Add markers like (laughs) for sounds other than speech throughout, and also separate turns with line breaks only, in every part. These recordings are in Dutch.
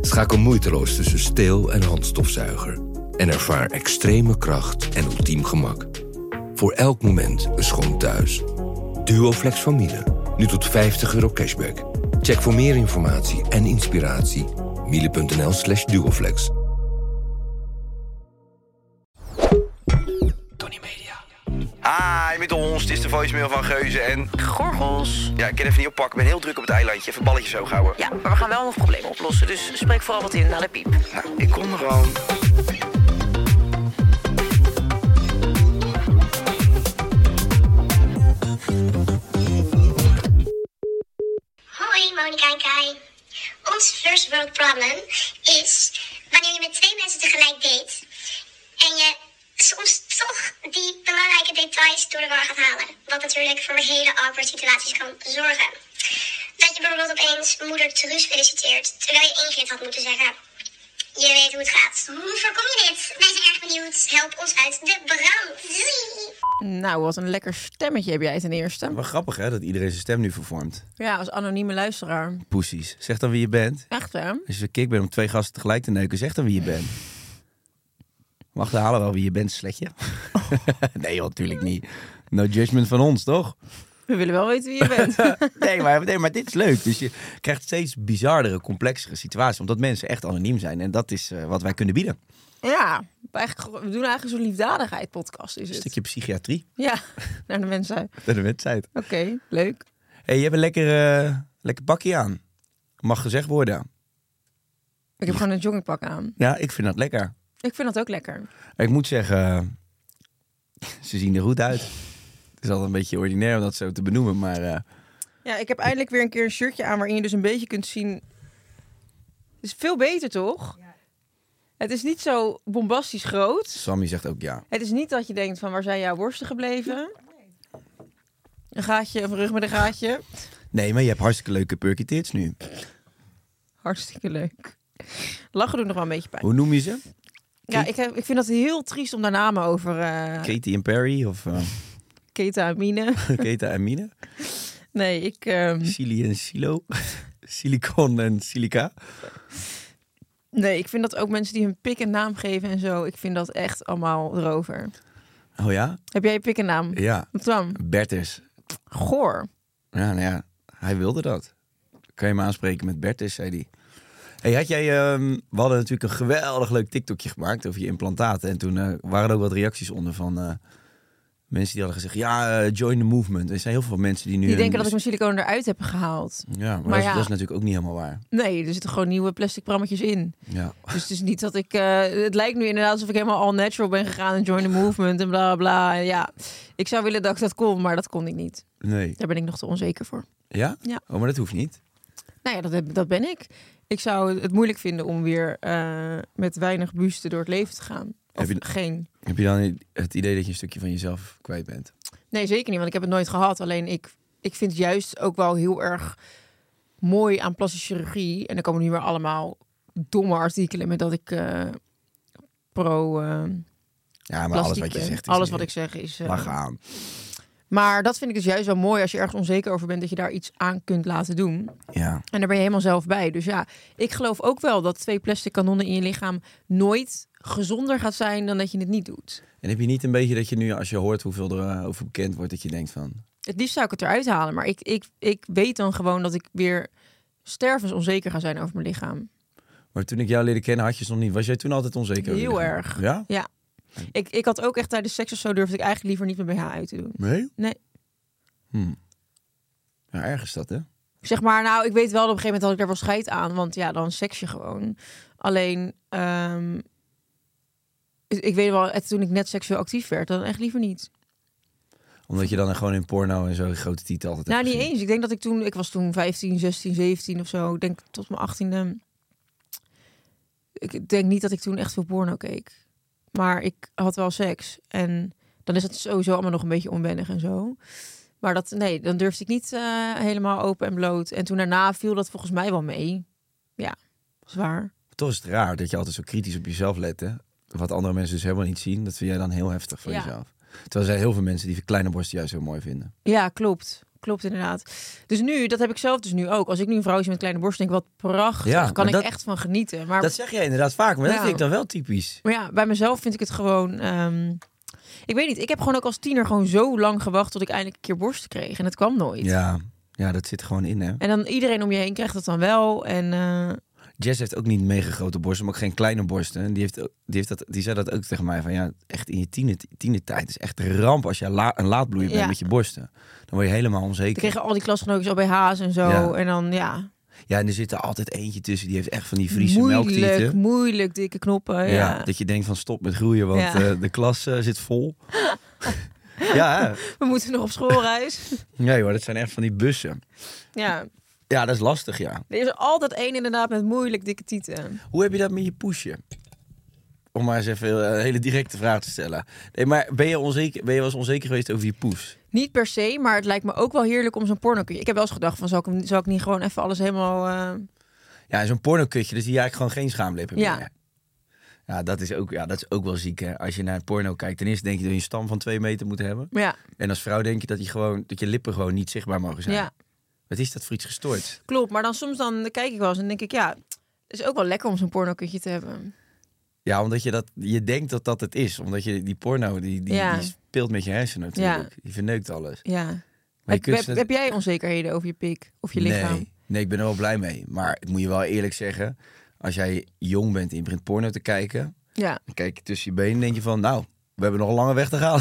Schakel moeiteloos tussen steel- en handstofzuiger en ervaar extreme kracht en ultiem gemak. Voor elk moment een schoon thuis. Duoflex van Miele, nu tot 50 euro cashback. Check voor meer informatie en inspiratie miele.nl slash duoflex.
Hi, met ons. Het is Ah, de voicemail van Geuze en... Gorgels. Ja, ik kan even niet oppakken. Ik ben heel druk op het eilandje. Even balletjes hoog houden.
Ja, maar we gaan wel nog problemen oplossen, dus spreek vooral wat in naar de piep.
Nou, ik kom er al.
Hoi Monika en Kai. Ons first world problem is wanneer je met twee mensen tegelijk date en je soms toch die belangrijke details door de war gaat halen. Wat natuurlijk voor hele awkward situaties kan zorgen. Dat je bijvoorbeeld opeens moeder Truus feliciteert terwijl je Ingrid had moeten zeggen. Je weet hoe het gaat. Hoe voorkom je dit? Wij zijn erg benieuwd. Help ons uit de brand. Doei!
Nou, wat een lekker stemmetje heb jij ten eerste.
Wel grappig hè, dat iedereen zijn stem nu vervormt.
Ja, als anonieme luisteraar.
Poesies. Zeg dan wie je bent.
Echt hè?
Als je kick bent om twee gasten tegelijk te neuken, zeg dan wie je bent. Mag de halen wel wie je bent, sletje? (laughs) nee joh, natuurlijk niet. No judgment van ons, toch?
We willen wel weten wie je bent.
nee, maar, nee, maar dit is leuk. Dus je krijgt steeds bizardere, complexere situaties. Omdat mensen echt anoniem zijn. En dat is eh, wat wij kunnen bieden.
ja, we, eigenlijk, we doen eigenlijk zo'n liefdadigheid podcast is
Een
het.
stukje psychiatrie.
Ja, (laughs) naar de mensen. Oké,
Bij de wedstrijd.
leuk.
hey, je hebt een lekker, eh, lekker bakje aan. Mag gezegd worden.
Ik heb gewoon een joggingpak aan.
Ja, ik vind dat lekker.
Ik vind dat ook lekker.
Ik moet zeggen, (laughs) ze zien er goed uit. Het is altijd een beetje ordinair om dat zo te benoemen, maar eh,
Ja, ik heb eindelijk weer een keer een shirtje aan waarin je dus een beetje kunt zien. Het is veel beter, toch? Het is niet zo bombastisch groot.
Sammy zegt ook ja.
Het is niet dat je denkt van waar zijn jouw worsten gebleven? Een gaatje, een rug met een gaatje.
Nee, maar je hebt hartstikke leuke perky tits nu.
Hartstikke leuk. Lachen doet nog wel een beetje pijn.
Hoe noem je ze?
Ja, ik, heb, ik vind dat heel triest om daar namen over eh
Katie en Perry of eh (laughs)
ketamine.
Keta en Mine?
Nee, ik... ehm,
Silly en Silo? (laughs) Silicon en Silica?
Nee, ik vind dat ook mensen die hun pik een naam geven en zo. Ik vind dat echt allemaal erover.
Oh ja?
Heb jij je pik een naam?
Ja.
Wat dan?
Bertus.
Goor.
Ja, nou ja, hij wilde dat. Kan je me aanspreken met Bertus, zei hij. Hey, had jij, ehm, we hadden natuurlijk een geweldig leuk TikTokje gemaakt over je implantaten. En toen eh, waren er ook wat reacties onder van eh, mensen die hadden gezegd, ja, eh, join the movement. Er zijn heel veel mensen die nu...
Die
een-
denken dat ik mijn siliconen eruit heb gehaald.
Ja, maar,
Maar
dat, is,
ja.
dat is natuurlijk ook niet helemaal waar.
Nee, er zitten gewoon nieuwe plastic prammetjes in.
Ja.
Dus het is niet dat ik... eh, het lijkt nu inderdaad alsof ik helemaal all natural ben gegaan en join the movement en bla bla bla. En ja, ik zou willen dat ik dat kon, maar dat kon ik niet.
Nee.
Daar ben ik nog te onzeker voor.
Ja?
Ja.
Oh, maar dat hoeft niet.
Nou ja, dat, heb- dat ben ik. Ik zou het moeilijk vinden om weer eh, met weinig buste door het leven te gaan. Of
Heb je-
geen.
Heb je dan het idee dat je een stukje van jezelf kwijt bent?
Nee, zeker niet, want ik heb het nooit gehad. Alleen ik, ik vind het juist ook wel heel erg mooi aan plastische chirurgie. En er komen nu weer allemaal domme artikelen met dat ik eh, pro eh
Ja, maar
plastiek
alles wat je
ben.
zegt is...
alles wat ik zeg is... eh,
Mag aan.
maar dat vind ik dus juist wel mooi als je ergens onzeker over bent dat je daar iets aan kunt laten doen.
Ja.
En daar ben je helemaal zelf bij. Dus ja, ik geloof ook wel dat twee plastic kanonnen in je lichaam nooit gezonder gaat zijn dan dat je het niet doet.
En heb je niet een beetje dat je nu, als je hoort hoeveel er eh, over bekend wordt, dat je denkt van...
Het liefst zou ik het eruit halen, maar ik, ik, ik weet dan gewoon dat ik weer stervensonzeker ga zijn over mijn lichaam.
Maar toen ik jou leerde kennen, had je ze nog niet. Was jij toen altijd onzeker? over
Heel
lichaam?
erg.
Ja?
Ja. Ik, ik had ook echt tijdens seks of zo durfde ik eigenlijk liever niet mijn BH uit te doen.
Nee?
Nee.
Hm. Ja, erg is dat, hè?
zeg maar, nou, ik weet wel, op een gegeven moment had ik daar wel scheid aan. Want ja, dan seks je gewoon. Alleen, ehm, ik ik weet wel, eh, toen ik net seksueel actief werd, dan echt liever niet.
Omdat je dan gewoon in porno en zo die grote titel altijd
Nou,
hebt
niet
gezien.
eens. Ik denk dat ik toen, ik was toen 15, 16, 17 of zo. Ik denk tot mijn 18e. Ik denk niet dat ik toen echt veel porno keek. Maar ik had wel seks. En dan is het sowieso allemaal nog een beetje onwennig en zo. Maar dat, nee, dan durfde ik niet eh, helemaal open en bloot. En toen daarna viel dat volgens mij wel mee. Ja, zwaar.
Toch is het raar dat je altijd zo kritisch op jezelf let, hè? Wat andere mensen dus helemaal niet zien, dat vind jij dan heel heftig voor
Ja.
jezelf. Terwijl er zijn heel veel mensen die kleine borsten juist heel mooi vinden.
Ja, klopt. Klopt inderdaad. Dus nu, dat heb ik zelf dus nu ook. Als ik nu een vrouwtje met kleine borst denk, ik, wat prachtig.
Ja, maar
kan ik
dat-
echt van genieten. Maar
Dat zeg jij inderdaad vaak, maar dat
Ja.
vind ik dan wel typisch.
Maar ja, bij mezelf vind ik het gewoon. ehm, ik weet niet, ik heb gewoon ook als tiener gewoon zo lang gewacht tot ik eindelijk een keer borsten kreeg. En het kwam nooit.
Ja, ja dat zit er gewoon in, hè?
En dan iedereen om je heen krijgt dat dan wel. En eh,
Jess heeft ook niet mega grote borsten, maar ook geen kleine borsten. En Die, heeft, ook- die, heeft dat, die zei dat ook tegen mij, van ja, echt in je tiene, tiene tijd is echt een ramp als je la, een laadbloeier bent
Ja.
met je borsten. Dan word je helemaal
dan
onzeker.
kregen al die klasgenootjes al BH's en zo.
Ja.
En dan ja,
Ja, en er zit er altijd eentje tussen, die heeft echt van die Friese
moeilijk,
melktieten.
moeilijk dikke knoppen. Ja.
Ja, dat je denkt van stop met groeien, want
Ja.
eh, de klas eh, zit
(laughs)
vol. ja, hè?
We moeten nog op schoolreis. (laughs)
nee hoor, dat zijn echt van die bussen.
ja,
Ja, dat is lastig, ja.
er is altijd één inderdaad met moeilijk dikke tieten.
Hoe heb je dat met je poesje? Om maar eens even eh, een hele directe vraag te stellen. Nee, maar ben je, onzeker, ben je wel eens onzeker geweest over je poes?
Niet per se, maar het lijkt me ook wel heerlijk om zo'n porno. Ik heb wel eens gedacht van, zou ik, hem- zou ik niet gewoon even alles helemaal... eh,
Ja, en zo'n pornokutje, dus die eigenlijk gewoon geen schaamlippen
Ja.
meer. Ja, dat is, ook, ja, dat is ook wel ziek, hè. Als je naar een porno kijkt, ten eerste denk je dat je een stam van twee meter moet hebben.
ja,
En als vrouw denk je dat je, gewoon, dat je lippen gewoon niet zichtbaar mogen zijn.
ja.
Wat is dat voor iets gestoord?
Klopt, maar dan soms dan kijk ik wel eens en denk ik, ja, het is ook wel lekker om zo'n pornokutje te hebben.
Ja, omdat je, dat, je denkt dat dat het is. Omdat je die porno, die, die,
Ja.
die speelt met je hersenen natuurlijk. Die verneukt alles.
Ja.
Maar je
heb,
kunt
heb-
ze-
heb jij onzekerheden over je pik of je lichaam?
Nee, nee, ik ben er wel blij mee. Maar ik moet je wel eerlijk zeggen, als jij jong bent en je begint porno te kijken,
Ja.
dan kijk je tussen je benen en denk je van, nou, we hebben nog een lange weg te
(laughs)
gaan.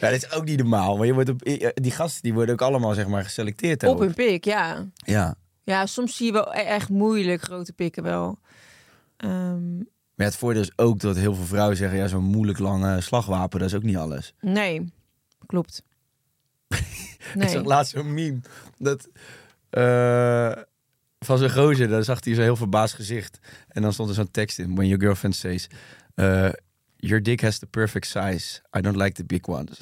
ja, dat is ook niet normaal. Maar je wordt op, eh, die gasten die worden ook allemaal zeg maar geselecteerd.
Op
daarop.
hun pik, ja.
Ja.
Ja, soms zie je wel e- echt moeilijk grote pikken wel. Ehm,
Maar het voordeel is ook dat heel veel vrouwen zeggen, ja, zo'n moeilijk lange slagwapen, dat is ook niet alles.
nee,
(laughs)
klopt.
Ik
Nee.
zag laatst zo'n meme. Dat, eh, van zo'n gozer, daar zag hij zo'n heel verbaasd gezicht. En dan stond er zo'n tekst in. When your girlfriend says... eh, your dick has the perfect size. I don't like the big ones.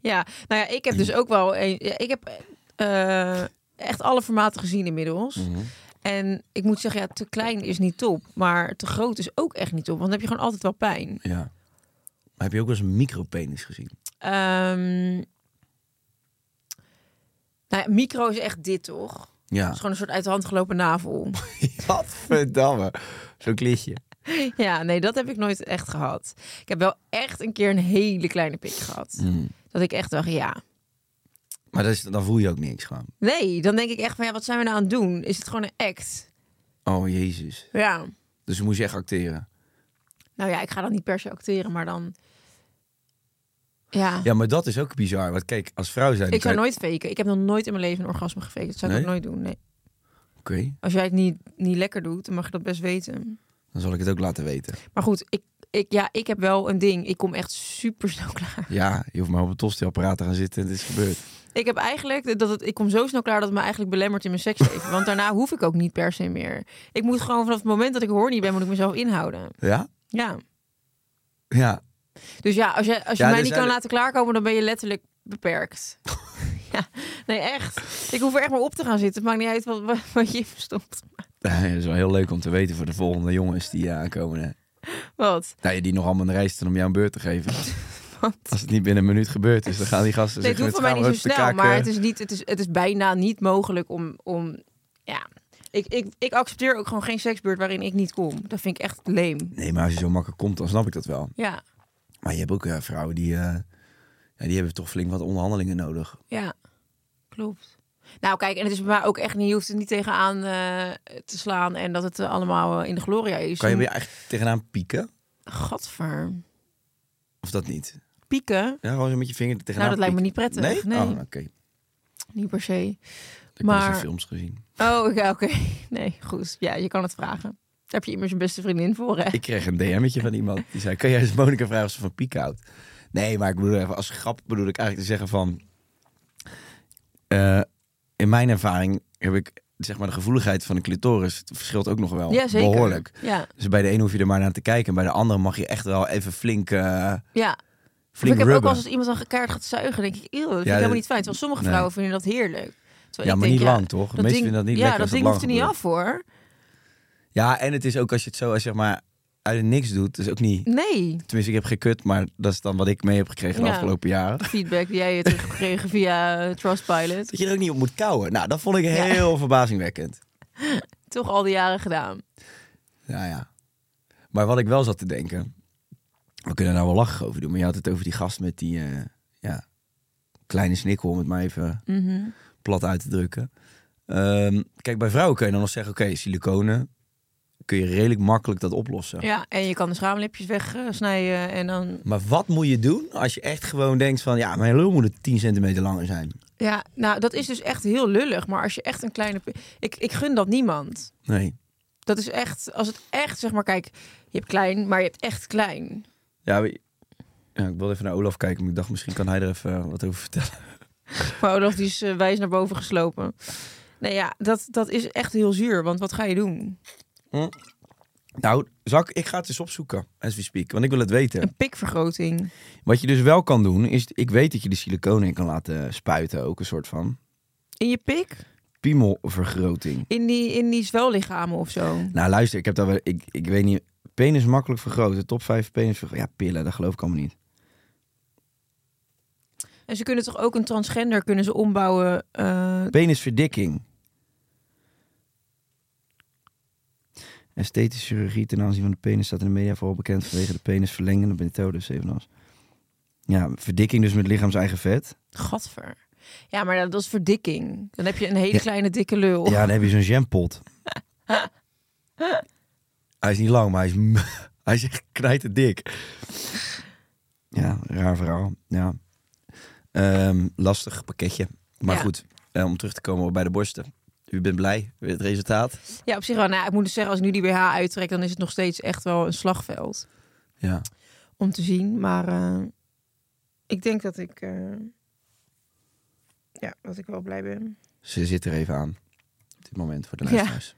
Ja, nou ja, ik heb dus ook wel... een- ja, ik heb eh, echt alle formaten gezien inmiddels.
Mhm.
En ik moet zeggen, ja, te klein is niet top. Maar te groot is ook echt niet top. Want dan heb je gewoon altijd wel pijn.
Ja. Maar heb je ook wel eens een micropenis gezien?
Ehm, nou ja, micro is echt dit, toch? Het
Ja. (laughs)
is gewoon een soort uit de hand gelopen navel.
Wat verdamme. Zo'n klitje.
ja, nee, dat heb ik nooit echt gehad. Ik heb wel echt een keer een hele kleine pik gehad.
Hmm.
Dat ik echt dacht, ja.
Maar dat is, dan voel je ook niks gewoon.
Nee, dan denk ik echt van, ja, wat zijn we nou aan het doen? Is het gewoon een act?
Oh, jezus.
Ja.
Dus dan moest je echt acteren.
Nou ja, ik ga dan niet per se acteren, maar dan... Ja,
Ja, maar dat is ook bizar. Want kijk, als vrouw zijn...
ik zou
kan-
nooit faken. Ik heb nog nooit in mijn leven een orgasme gefaked. Dat zou ik
Nee?
ook nooit doen, nee.
Oké,
Als jij het niet, niet lekker doet, dan mag je dat best weten.
dan zal ik het ook laten weten.
Maar goed, ik, ik, ja, ik heb wel een ding. Ik kom echt super snel (laughs) klaar.
Ja, je hoeft maar op een tosti-apparaat te gaan zitten en het is gebeurd.
Ik heb eigenlijk dat het, ik kom zo snel klaar dat het me eigenlijk belemmert in mijn seksleven. Want daarna hoef ik ook niet per se meer. Ik moet gewoon vanaf het moment dat ik horny ben, moet ik mezelf inhouden.
Ja?
Ja.
Ja.
Dus ja, als je, als je
Ja,
mij
er
niet
zijn-
kan laten klaarkomen, dan ben je letterlijk beperkt. (laughs) ja, nee, echt. Ik hoef er echt maar op te gaan zitten. Het maakt niet uit wat, wat, wat je in me stopt.
Dat is wel heel leuk om te weten voor de volgende jongens die eh, aankomen. hè.
Wat?
Nou, je die nog allemaal in de rij staan om jou een beurt te
(laughs)
geven.
Wat?
Als het niet binnen een minuut gebeurd is, dan gaan die gasten
Nee,
zich
het hoeft
met
voor mij niet zo
schaamrood te
snel,
kaken.
maar het is, niet, het, is, het is bijna niet mogelijk om... om ja. ik, ik, ik accepteer ook gewoon geen seksbeurt waarin ik niet kom. Dat vind ik echt leem.
Nee, maar als je zo makkelijk komt, dan snap ik dat wel.
Ja,
Maar je hebt ook eh, vrouwen die, eh, ja, die hebben toch flink wat onderhandelingen nodig.
ja, klopt. Nou kijk, en het is bij mij ook echt niet... Je hoeft het niet tegenaan eh, te slaan en dat het eh, allemaal eh, in de gloria is.
Kan je bij je eigenlijk tegenaan pieken?
Gadver.
Of dat niet?
pieken.
Ja, gewoon zo met je vinger er tegenaan.
Nou, dat lijkt me niet
pikken.
prettig. Nee,
Nee? Oh, oké.
niet per se.
Ik heb heb
Maar-
films gezien.
Oh, ja, oké. (laughs) Nee, goed. Ja, je kan het vragen. Daar heb je immers je beste vriendin voor, hè?
Ik kreeg een DM'tje van iemand. Die zei, kan jij eens Monika vragen of ze van piek houdt? Nee, maar ik bedoel even, als grap bedoel ik eigenlijk te zeggen van... eh, in mijn ervaring heb ik, zeg maar, de gevoeligheid van de clitoris... Het verschilt ook nog wel
ja, zeker.
behoorlijk.
Ja,
Dus bij de ene hoef je er maar naar te kijken. En bij de andere mag je echt wel even flink, eh
ja. Of
flink
ik heb ook
rubben.
wel eens als iemand dan gekaard gaat zuigen, denk ik, eeuw, dat vind ik
dat-
helemaal niet fijn. Terwijl sommige
nee.
vrouwen vinden dat heerlijk. Terwijl
Ja,
ik
maar
denk,
niet
ja,
lang, toch? Mensen
ding-
vinden dat niet
ja,
lekker
dat
als
ding
dat
hoeft er
lang
niet af, hoor.
Ja, en het is ook als je het zo als zeg maar uit het niks doet, dus ook niet.
Nee.
Tenminste, ik heb gekut, maar dat is dan wat ik mee heb gekregen de
Ja.
afgelopen jaren.
Feedback die
(laughs)
jij terug hebt gekregen via eh, Trustpilot.
Dat je er ook niet op moet kouwen. Nou, dat vond ik
Ja.
heel verbazingwekkend.
Toch al die jaren gedaan.
Ja, ja. Maar wat ik wel zat te denken, we kunnen daar wel lachen over doen, maar je had het over die gast met die eh, ja, kleine snikkel, om het maar even
Mhm.
plat uit te drukken. Ehm, kijk, bij vrouwen kun je dan nog zeggen, oké, siliconen, kun je redelijk makkelijk dat oplossen.
Ja, en je kan de schaamlipjes wegsnijden en dan...
Maar wat moet je doen als je echt gewoon denkt van... ja, mijn lul moet het 10 centimeter langer zijn?
Ja, nou, dat is dus echt heel lullig. Maar als je echt een kleine... pi- Ik, ik gun dat niemand.
Nee.
Dat is echt, als het echt, zeg maar, kijk, je hebt klein, maar je hebt echt klein.
Ja, maar- ja, ik wilde even naar Olaf kijken, maar ik dacht misschien kan hij er even eh, wat over vertellen. (laughs)
Maar Olaf die is eh, wijs naar boven geslopen. Nee, ja, dat, dat is echt heel zuur, want wat ga je doen?
Nou, zal ik, ik ga het eens opzoeken, as we speak, want ik wil het weten.
Een pikvergroting.
Wat je dus wel kan doen, is... Ik weet dat je de siliconen in kan laten spuiten, ook een soort van
In je pik?
piemelvergroting.
In die, in die zwellichamen of zo.
Nou, luister, ik heb daar wel... Ik, ik weet niet... Penis makkelijk vergroten, top 5 penis vergroten. Ja, pillen, dat geloof ik allemaal niet.
En ze kunnen toch ook een transgender kunnen ze ombouwen. eh,
Penisverdikking. Esthetische chirurgie ten aanzien van de penis staat in de media vooral bekend vanwege de penisverlengende methodes evenals. Ja, verdikking dus met lichaams eigen vet.
gadver. Ja, maar dat, dat is verdikking. Dan heb je een hele
Ja.
kleine dikke lul.
Ja, dan heb je zo'n jampot. hij is niet lang, maar hij is, m- (laughs) hij is echt knijtend dik. Ja, raar verhaal. Ja. Ehm, lastig pakketje. Maar
Ja.
goed, eh, om terug te komen bij de borsten. U bent blij met het resultaat.
Ja, op zich wel. Nou, ik moet dus zeggen, als ik nu die BH uittrek, dan is het nog steeds echt wel een slagveld.
Ja.
om te zien. Maar eh, ik denk dat ik, eh, ja, dat ik wel blij ben.
Ze zit er even aan. Op dit moment voor de
Ja.
luisteraars.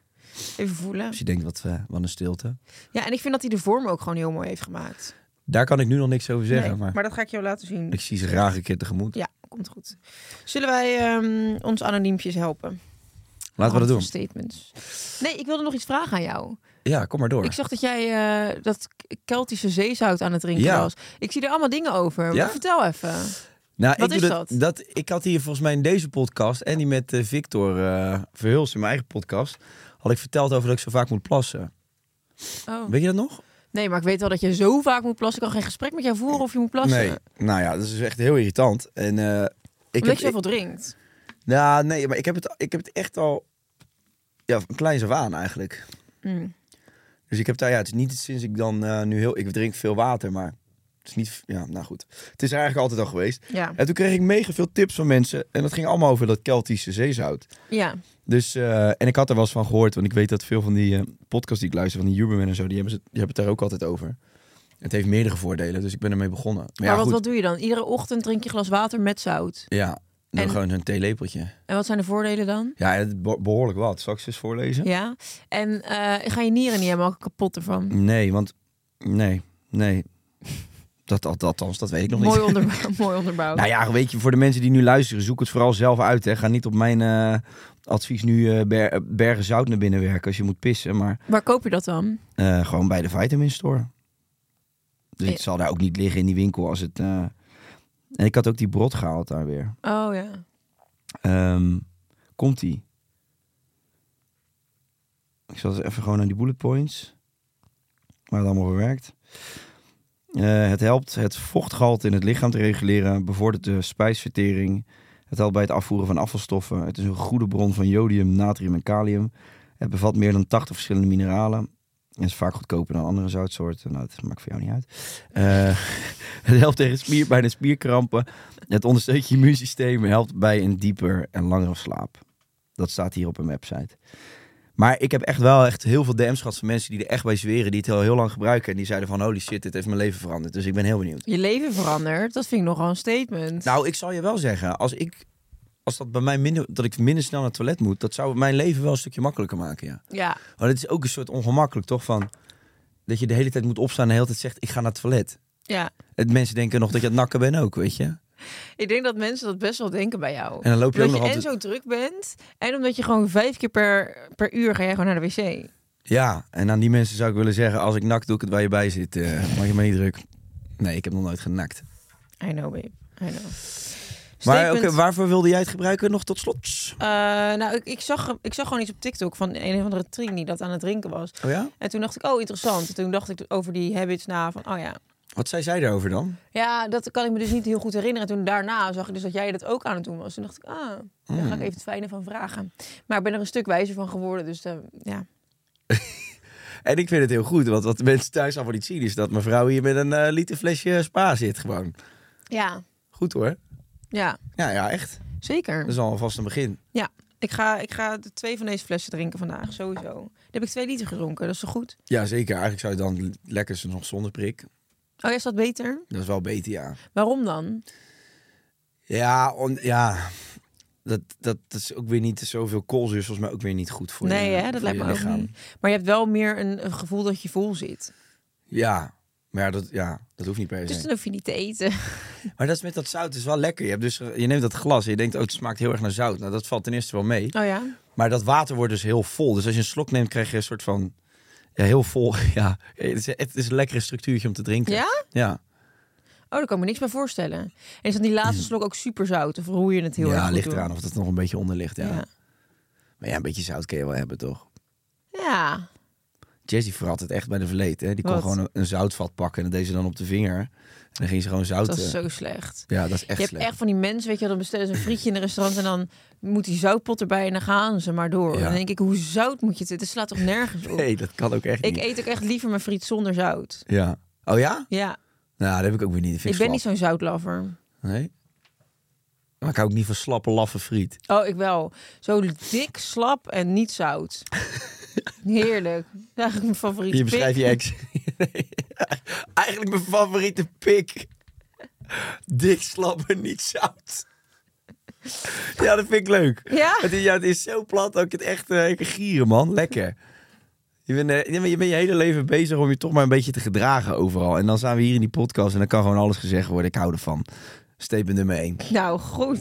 Even voelen.
Dus je denkt, wat, eh, wat een stilte.
Ja, en ik vind dat hij de vorm ook gewoon heel mooi heeft gemaakt.
Daar kan ik nu nog niks over zeggen.
Nee,
maar,
maar dat ga ik jou laten zien.
ik zie ze graag een keer tegemoet.
Ja, komt goed. Zullen wij ehm, ons anoniempjes helpen?
Laten we dat
Hand-
doen.
Statements. Nee, ik wilde nog iets vragen aan jou.
Ja, kom maar door.
Ik zag dat jij eh, dat K- Keltische zeezout aan het drinken
Ja.
was. Ik zie er allemaal dingen over.
Ja?
Maar vertel even.
nou,
wat
ik
is
doe
dat?
Ik had hier volgens mij in deze podcast en die met eh, Victor eh Verhulst in mijn eigen podcast... had ik verteld over dat ik zo vaak moet plassen.
Oh.
Weet je dat nog?
Nee, maar ik weet wel dat je zo vaak moet plassen. Ik kan geen gesprek met jou voeren of je moet plassen.
Nee. Nou ja, dat is echt heel irritant. En, eh, ik
Omdat
heb,
je zoveel drinkt.
ik- nou, nee, maar ik heb het, ik heb het echt al... Ja, van kleins af aan eigenlijk.
Mm.
Dus ik heb daar, ja, het is niet sinds ik dan eh, nu heel, ik drink veel water, maar het is niet, ja, nou goed. Het is er eigenlijk altijd al geweest.
Ja.
En toen kreeg ik mega veel tips van mensen en dat ging allemaal over dat Keltische zeezout.
ja.
Dus, eh, en ik had er wel eens van gehoord, want ik weet dat veel van die eh, podcasts die ik luister, van die Huberman en zo, die hebben, ze, die hebben het daar ook altijd over. Het heeft meerdere voordelen, dus ik ben ermee begonnen. Maar,
Maar
ja,
wat,
goed.
wat doe je dan? Iedere ochtend drink je een glas water met zout.
Ja, dan
En-
gewoon zo'n theelepeltje.
En wat zijn de voordelen dan?
Ja, het be- behoorlijk wat. Zal ik ze eens voorlezen?
Ja. En eh, ga je nieren niet helemaal kapot ervan?
Nee, want, nee, nee. Dat, dat, althans, dat weet ik nog niet.
Mooi,
(laughs)
onderbouw, mooi onderbouwd.
Nou ja, weet je, voor de mensen die nu luisteren, zoek het vooral zelf uit. Hè. Ga niet op mijn eh, advies nu eh, ber- eh, bergen zout naar binnen werken als je moet pissen. Maar
Waar koop je dat dan?
eh, gewoon bij de vitamin store. Dus
Ja.
het zal daar ook niet liggen in die winkel als het... eh, En ik had ook die brot gehaald daar weer.
Oh ja.
Ehm, komt die? Ik zal eens even gewoon naar die bullet points. Waar het allemaal voor werkt. Eh, het helpt het vochtgehalte in het lichaam te reguleren. Bevordert de spijsvertering. Het helpt bij het afvoeren van afvalstoffen. Het is een goede bron van jodium, natrium en kalium. Het bevat meer dan 80 verschillende mineralen. En is vaak goedkoper dan andere zoutsoorten. Nou, dat maakt voor jou niet uit. Eh, (laughs) het helpt tegen spier, bij de spierkrampen. Het ondersteunt je (laughs) immuunsysteem. en Helpt bij een dieper en langere slaap. Dat staat hier op een website. Maar ik heb echt wel echt heel veel DM's gehad van mensen die er echt bij zweren. Die het al heel lang gebruiken. En die zeiden van holy shit, dit heeft mijn leven veranderd. Dus ik ben heel benieuwd.
Je leven verandert, dat vind ik nogal een statement.
Nou, ik zal je wel zeggen. Als ik... Als dat bij mij minder, dat ik minder snel naar het toilet moet, dat zou mijn leven wel een stukje makkelijker maken, ja.
ja,
Maar dat is ook een soort ongemakkelijk, toch? Van, dat je de hele tijd moet opstaan en de hele tijd zegt, ik ga naar het toilet.
ja.
Het, mensen denken nog dat je aan het nakken bent ook, weet je?
Ik denk dat mensen dat best wel denken bij jou.
En dan loop je
Omdat
ook
je
nog
en
altijd...
zo druk bent en omdat je gewoon vijf keer per, per uur ga jij gewoon naar de wc.
Ja, en aan die mensen zou ik willen zeggen, als ik nak doe ik het waar je bij zit. eh maak je me niet druk. Nee, ik heb nog nooit genakt.
I know, babe. I know.
Maar
Statement.
oké, waarvoor wilde jij het gebruiken nog tot slot?
Eh, nou, ik, ik, zag, ik zag gewoon iets op TikTok van een of andere trink die dat aan het drinken was.
Oh ja?
En toen dacht ik, oh interessant. En toen dacht ik over die habits na van, oh ja.
Wat zei zij daarover dan?
Ja, dat kan ik me dus niet heel goed herinneren. En toen daarna zag ik dus dat jij dat ook aan het doen was. Toen dacht ik, ah, daar
Hmm.
ga ik even het fijne van vragen. Maar ik ben er een stuk wijzer van geworden, dus eh, ja.
En ik vind het heel goed, want wat de mensen thuis allemaal niet zien... is dat mevrouw hier met een eh, liter flesje spa zit gewoon.
Ja,
Goed hoor.
ja,
Ja, ja, echt.
zeker.
Dat is alvast een begin.
Ja, ik ga, ik ga de twee van deze flessen drinken vandaag, sowieso. Dan heb ik twee liter gedronken, dat is toch goed?
Ja, zeker. Eigenlijk zou je dan l- lekker ze nog zonder prik.
Oh ja, is dat beter?
Dat is wel beter, ja.
Waarom dan?
Ja, on- ja. Dat, dat, dat is ook weer niet zoveel koolzuur, maar ook weer niet goed voor
nee,
je
hè,
voor
dat lijkt
je
me ook
lichaam.
niet. Maar je hebt wel meer een, een gevoel dat je vol zit.
Ja, maar ja, dat, ja, dat hoeft niet per se.
Dus dan hoef je niet te eten.
Maar dat is met dat zout het is wel lekker. Je, hebt dus, eh, je neemt dat glas en je denkt, oh, het smaakt heel erg naar zout. Nou, dat valt ten eerste wel mee.
Oh ja?
Maar dat water wordt dus heel vol. Dus als je een slok neemt, krijg je een soort van... Ja, heel vol. (laughs) Ja, het is, het is een lekkere structuurtje om te drinken.
Ja?
Ja,
Oh, daar kan ik me niks bij voorstellen. En is dan die laatste slok ook super zout? Of roer je het heel erg
ja
goed
ligt
door?
eraan of het nog een beetje onder ligt. Ja.
Ja.
Maar ja, een beetje zout kun je wel hebben, toch?
Ja.
Jessie verrat het echt bij de verleed. Hè? Die kon
Wat?
gewoon een, een zoutvat pakken en dat deed ze dan op de vinger. En dan ging ze gewoon zout...
dat is
eh,
zo slecht.
Ja, dat is echt
je hebt
slecht.
echt van die mensen, weet je, wel, dan bestellen ze een frietje in een restaurant en dan moet die zoutpot erbij en dan gaan ze maar door.
Ja.
En dan denk ik, hoe zout moet je het? Het slaat toch nergens op?
Nee, dat kan ook echt
Ik
niet.
eet ook echt liever mijn friet zonder zout.
Ja. Oh ja?
Ja,
Nou, dat heb ik ook weer niet. Dat
ik
vind
ben niet
slap.
zo'n zoutlover.
Nee? Maar ik hou ook niet van slappe, laffe friet.
Oh, ik wel. Zo dik, slap en niet
(laughs)
zout. Heerlijk. Dat is eigenlijk mijn favoriete
Je beschrijft
pik.
je
(laughs)
ex. Nee. Eigenlijk mijn favoriete pik. Dik, slap en niet zout. Ja, dat vind ik leuk.
Ja?
Het is, ja, het is zo plat dat ik het echt eh, ik gieren, man. Lekker. Je bent, eh, je bent- je bent je hele leven bezig om je toch maar een beetje te gedragen overal. En dan zijn we hier in die podcast en dan kan gewoon alles gezegd worden. Ik hou ervan. Statement nummer 1.
Nou, goed.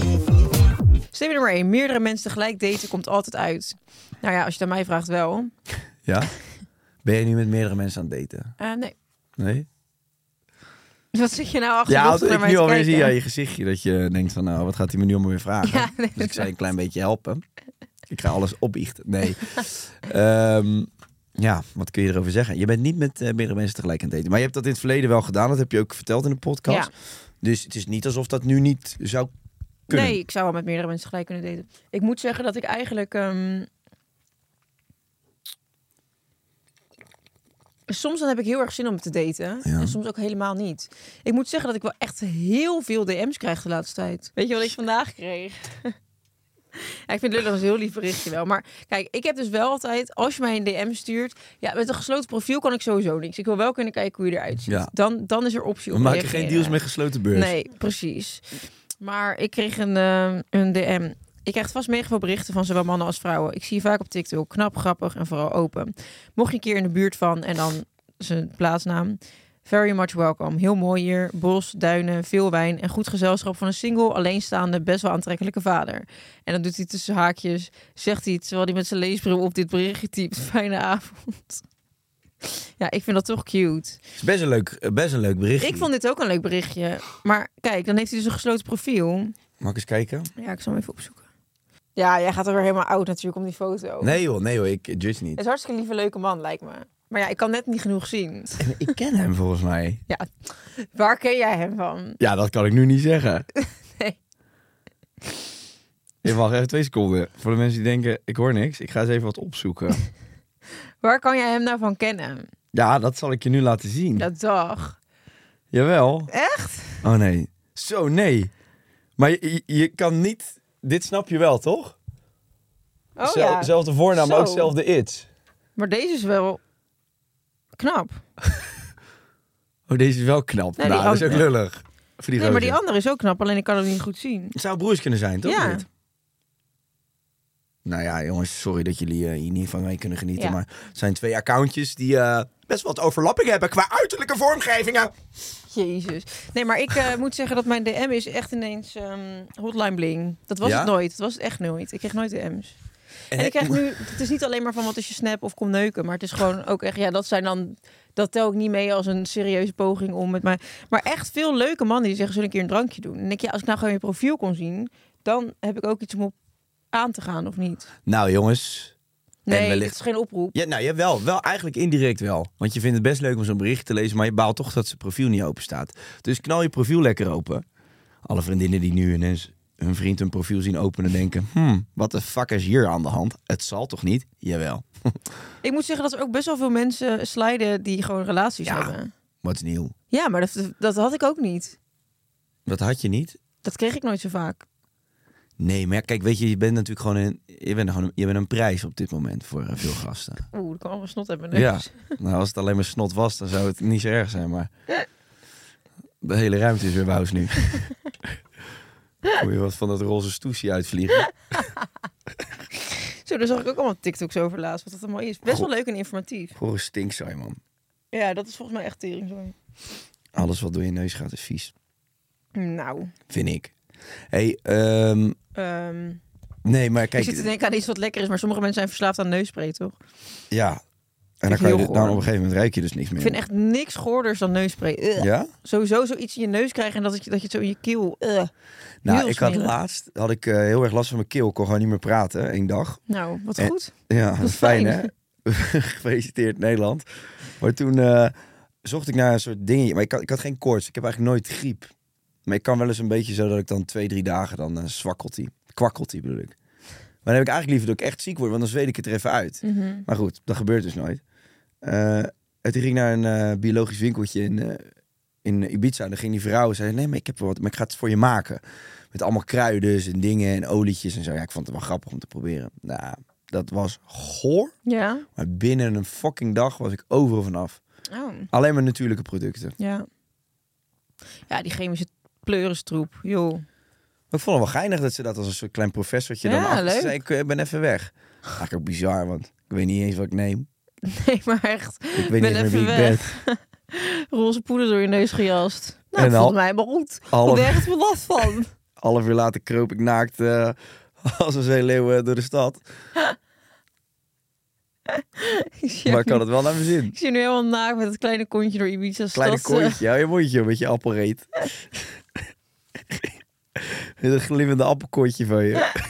Statement nummer 1. er Meerdere mensen tegelijk daten komt altijd uit. Nou ja, als je het aan mij vraagt wel.
Ja? Ben je nu met meerdere mensen aan het daten?
Eh, nee.
Nee?
Wat zit je nou achter
Ja,
de
want
dochter naar
ik
mij
nu
te
alweer
kijken?
zie aan je gezichtje dat je denkt van, nou, wat gaat hij me nu allemaal weer vragen?
Ja, nee,
dus ik
dat
zei een klein beetje helpen. Ik ga alles opbiechten. Nee. (laughs) Ehm, ja, wat kun je erover zeggen? Je bent niet met eh, meerdere mensen tegelijk aan het daten. Maar je hebt dat in het verleden wel gedaan. Dat heb je ook verteld in de podcast.
Ja.
Dus het is niet alsof dat nu niet zou kunnen.
Nee, ik zou wel met meerdere mensen gelijk kunnen daten. Ik moet zeggen dat ik eigenlijk... ehm, Soms dan heb ik heel erg zin om te daten. En soms ook helemaal niet. Ik moet zeggen dat ik wel echt heel veel DM's krijg de laatste tijd. Weet je wat ik vandaag kreeg? (laughs) Ja, ik vind het leuk, dat was een heel lief berichtje wel. Maar kijk, ik heb dus wel altijd, als je mij een DM stuurt... Ja, met een gesloten profiel kan ik sowieso niks. Ik wil wel kunnen kijken hoe je eruit ziet.
Ja.
Dan, dan is er optie
We
om
maken geen deals met gesloten beurs.
Nee, precies. Maar ik kreeg een, eh, een DM. Ik krijg vast mega veel berichten van zowel mannen als vrouwen. Ik zie je vaak op TikTok. Knap, grappig en vooral open. Mocht je een keer in de buurt van en dan zijn plaatsnaam. Very much welcome. Heel mooi hier. Bos, duinen, veel wijn en goed gezelschap van een single, alleenstaande, best wel aantrekkelijke vader. En dan doet hij tussen haakjes, zegt hij terwijl hij met zijn leesbril op dit berichtje typt. (laughs) Fijne avond. Ja, ik vind dat toch cute.
Het is best een leuk, eh, best een leuk bericht.
Ik vond dit ook een leuk berichtje. Maar kijk, dan heeft hij dus een gesloten profiel.
Mag ik eens kijken?
Ja, ik zal hem even opzoeken. Ja, jij gaat er weer helemaal oud natuurlijk om die foto.
Nee joh, nee joh, ik judge
Het (laughs)
niet.
is hartstikke lieve, leuke man, lijkt me. Maar ja, ik kan net niet genoeg zien. (laughs)
Ik ken hem volgens mij.
Ja, waar ken jij hem van?
Ja, dat kan ik nu niet zeggen.
(laughs) Nee.
Ik wacht even twee seconden. Voor de mensen die denken, ik hoor niks. Ik ga eens even wat
(laughs)
opzoeken.
Waar kan jij hem nou van kennen?
Ja, dat zal ik je nu laten zien.
Ja, dag.
Jawel.
Echt?
Oh nee. Zo, nee. Maar je, je- je kan niet... Dit snap je wel, toch?
Oh
Zel-
ja.
Zelfde voornaam, maar ook
Zo.
zelfde it.
Maar deze is wel knap.
Oh, deze is wel knap.
Nee, die
nou, dat is ook
andere.
lullig. Voor die
Nee, maar
gozer.
die andere is ook knap, alleen ik kan hem niet goed zien.
Het zou broers kunnen zijn, toch?
Ja.
Dit? Nou ja, jongens, sorry dat jullie eh, hier niet van mee kunnen genieten.
Ja.
Maar het zijn twee accountjes die eh, best wat overlapping hebben qua uiterlijke vormgevingen.
Jezus. Nee, maar ik
(laughs)
eh, moet zeggen dat mijn DM is echt ineens ehm, hotline bling. Dat was
Ja?
het nooit. Dat was het echt nooit. Ik kreeg nooit DM's. En, ik krijg
(laughs)
nu, het is niet alleen maar van wat is je snap of kom neuken, maar het is gewoon ook echt, ja, dat zijn dan, dat tel ik niet mee als een serieuze poging om met mij. Maar echt veel leuke mannen die zeggen, zullen we een keer een drankje doen? En ik denk, ja, als ik nou gewoon je profiel kon zien, dan heb ik ook iets om op aan te gaan of niet.
Nou jongens,
Nee,
wellicht-
het is geen oproep.
ja, nou jawel, wel eigenlijk indirect wel. Want je vindt het best leuk om zo'n bericht te lezen, maar je baalt toch dat zijn profiel niet open staat. Dus knal je profiel lekker open. Alle vriendinnen die nu ineens hun vriend hun profiel zien openen denken... Hmm, wat de fuck is hier aan de hand? Het zal toch niet? Jawel.
Ik moet zeggen dat er ook best wel veel mensen sliden die gewoon relaties
Ja.
hebben.
Wat is nieuw?
Ja, maar dat, dat had ik ook niet.
Dat had je niet?
Dat kreeg ik nooit zo vaak.
Nee, maar ja, kijk, weet je, je bent natuurlijk gewoon een, je bent gewoon een, je bent een prijs op dit moment voor eh, veel
(laughs)
gasten.
Oeh, dat kan allemaal snot hebben.
Ja. Nou, als het alleen maar snot was, dan zou het niet zo erg zijn, maar de hele ruimte is weer wous
(laughs)
nu. Moet je wat van dat roze stoesje
(laughs)
uitvliegen?
Zo, daar zag ik ook allemaal TikToks over laatst, wat dat allemaal is. Best wel leuk en informatief.
Gewoon een stinkzaai, man.
Ja, dat is volgens mij echt tering, sorry.
Alles wat door je neus gaat is vies,
Nou,
vind ik. hey, ehm,
ehm,
nee, maar
ik
kijk,
zit te denken aan iets wat lekker is, maar sommige mensen zijn verslaafd aan neuspray, toch?
ja. En
Vind
dan,
ik
kan je,
heel
dan op
goor.
een gegeven moment ruik je dus niks meer.
Ik vind echt niks goorders dan neuspray. Ugh.
Ja?
Sowieso zoiets in je neus krijgen en dat het, je- dat je het zo in je keel... Ugh.
Nou,
Heel
ik had
smerig.
laatst had ik eh, heel erg last van mijn keel. Ik kon gewoon niet meer praten, één dag.
Nou, wat
En-
goed.
Ja, dat is fijn, hè? (laughs)
fijn.
Gefeliciteerd Nederland. Maar toen eh, zocht ik naar een soort dingetje. Maar ik had, ik had geen koorts. Ik heb eigenlijk nooit griep. Maar ik kan wel eens een beetje zo dat ik dan twee, drie dagen dan eh, zwakkelt die. Kwakkelt die bedoel ik. Maar dan heb ik eigenlijk liever dat ik echt ziek word, want dan zweet ik het er even uit.
Mhm.
Maar goed, dat gebeurt dus nooit. Eh, en toen ging ik naar een eh, biologisch winkeltje in, eh, in Ibiza. En dan ging die vrouw en zei, nee, maar ik heb wel wat, maar ik ga het voor je maken. Met allemaal kruiden en dingen en olietjes en zo. Ja, ik vond het wel grappig om te proberen. Nou, dat was goor.
Ja.
Maar binnen een fucking dag was ik overal vanaf.
Oh,
Alleen maar natuurlijke producten.
ja. Ja, die chemische pleuristroep, joh. (laughs)
Maar ik vond het wel geinig dat ze dat als een soort klein professortje
Ja,
dan achter
leuk.
zei, ik eh, ben even weg. Eigenlijk ook bizar, want ik weet niet eens wat ik neem.
Nee, maar echt.
Ik weet niet eens meer wie ik ben.
Roze poeder door je neus gejast. Nou,
En al-
volgens mij maar goed.
Half,
Ik heb er echt wel last
(laughs)
van.
half uur later kroop ik naakt eh, (laughs) als een zeeleeuw eh, door de stad.
Ik zie
Maar
ook
ik had het
niet-
wel naar mijn zin.
Ik zie nu helemaal naakt met het kleine kontje door Ibiza.
Kleine
stad, eh,
kooitje, hou je mondje joh, met je appelreet. (laughs) Met een glimmende appelkoortje van je.
(laughs)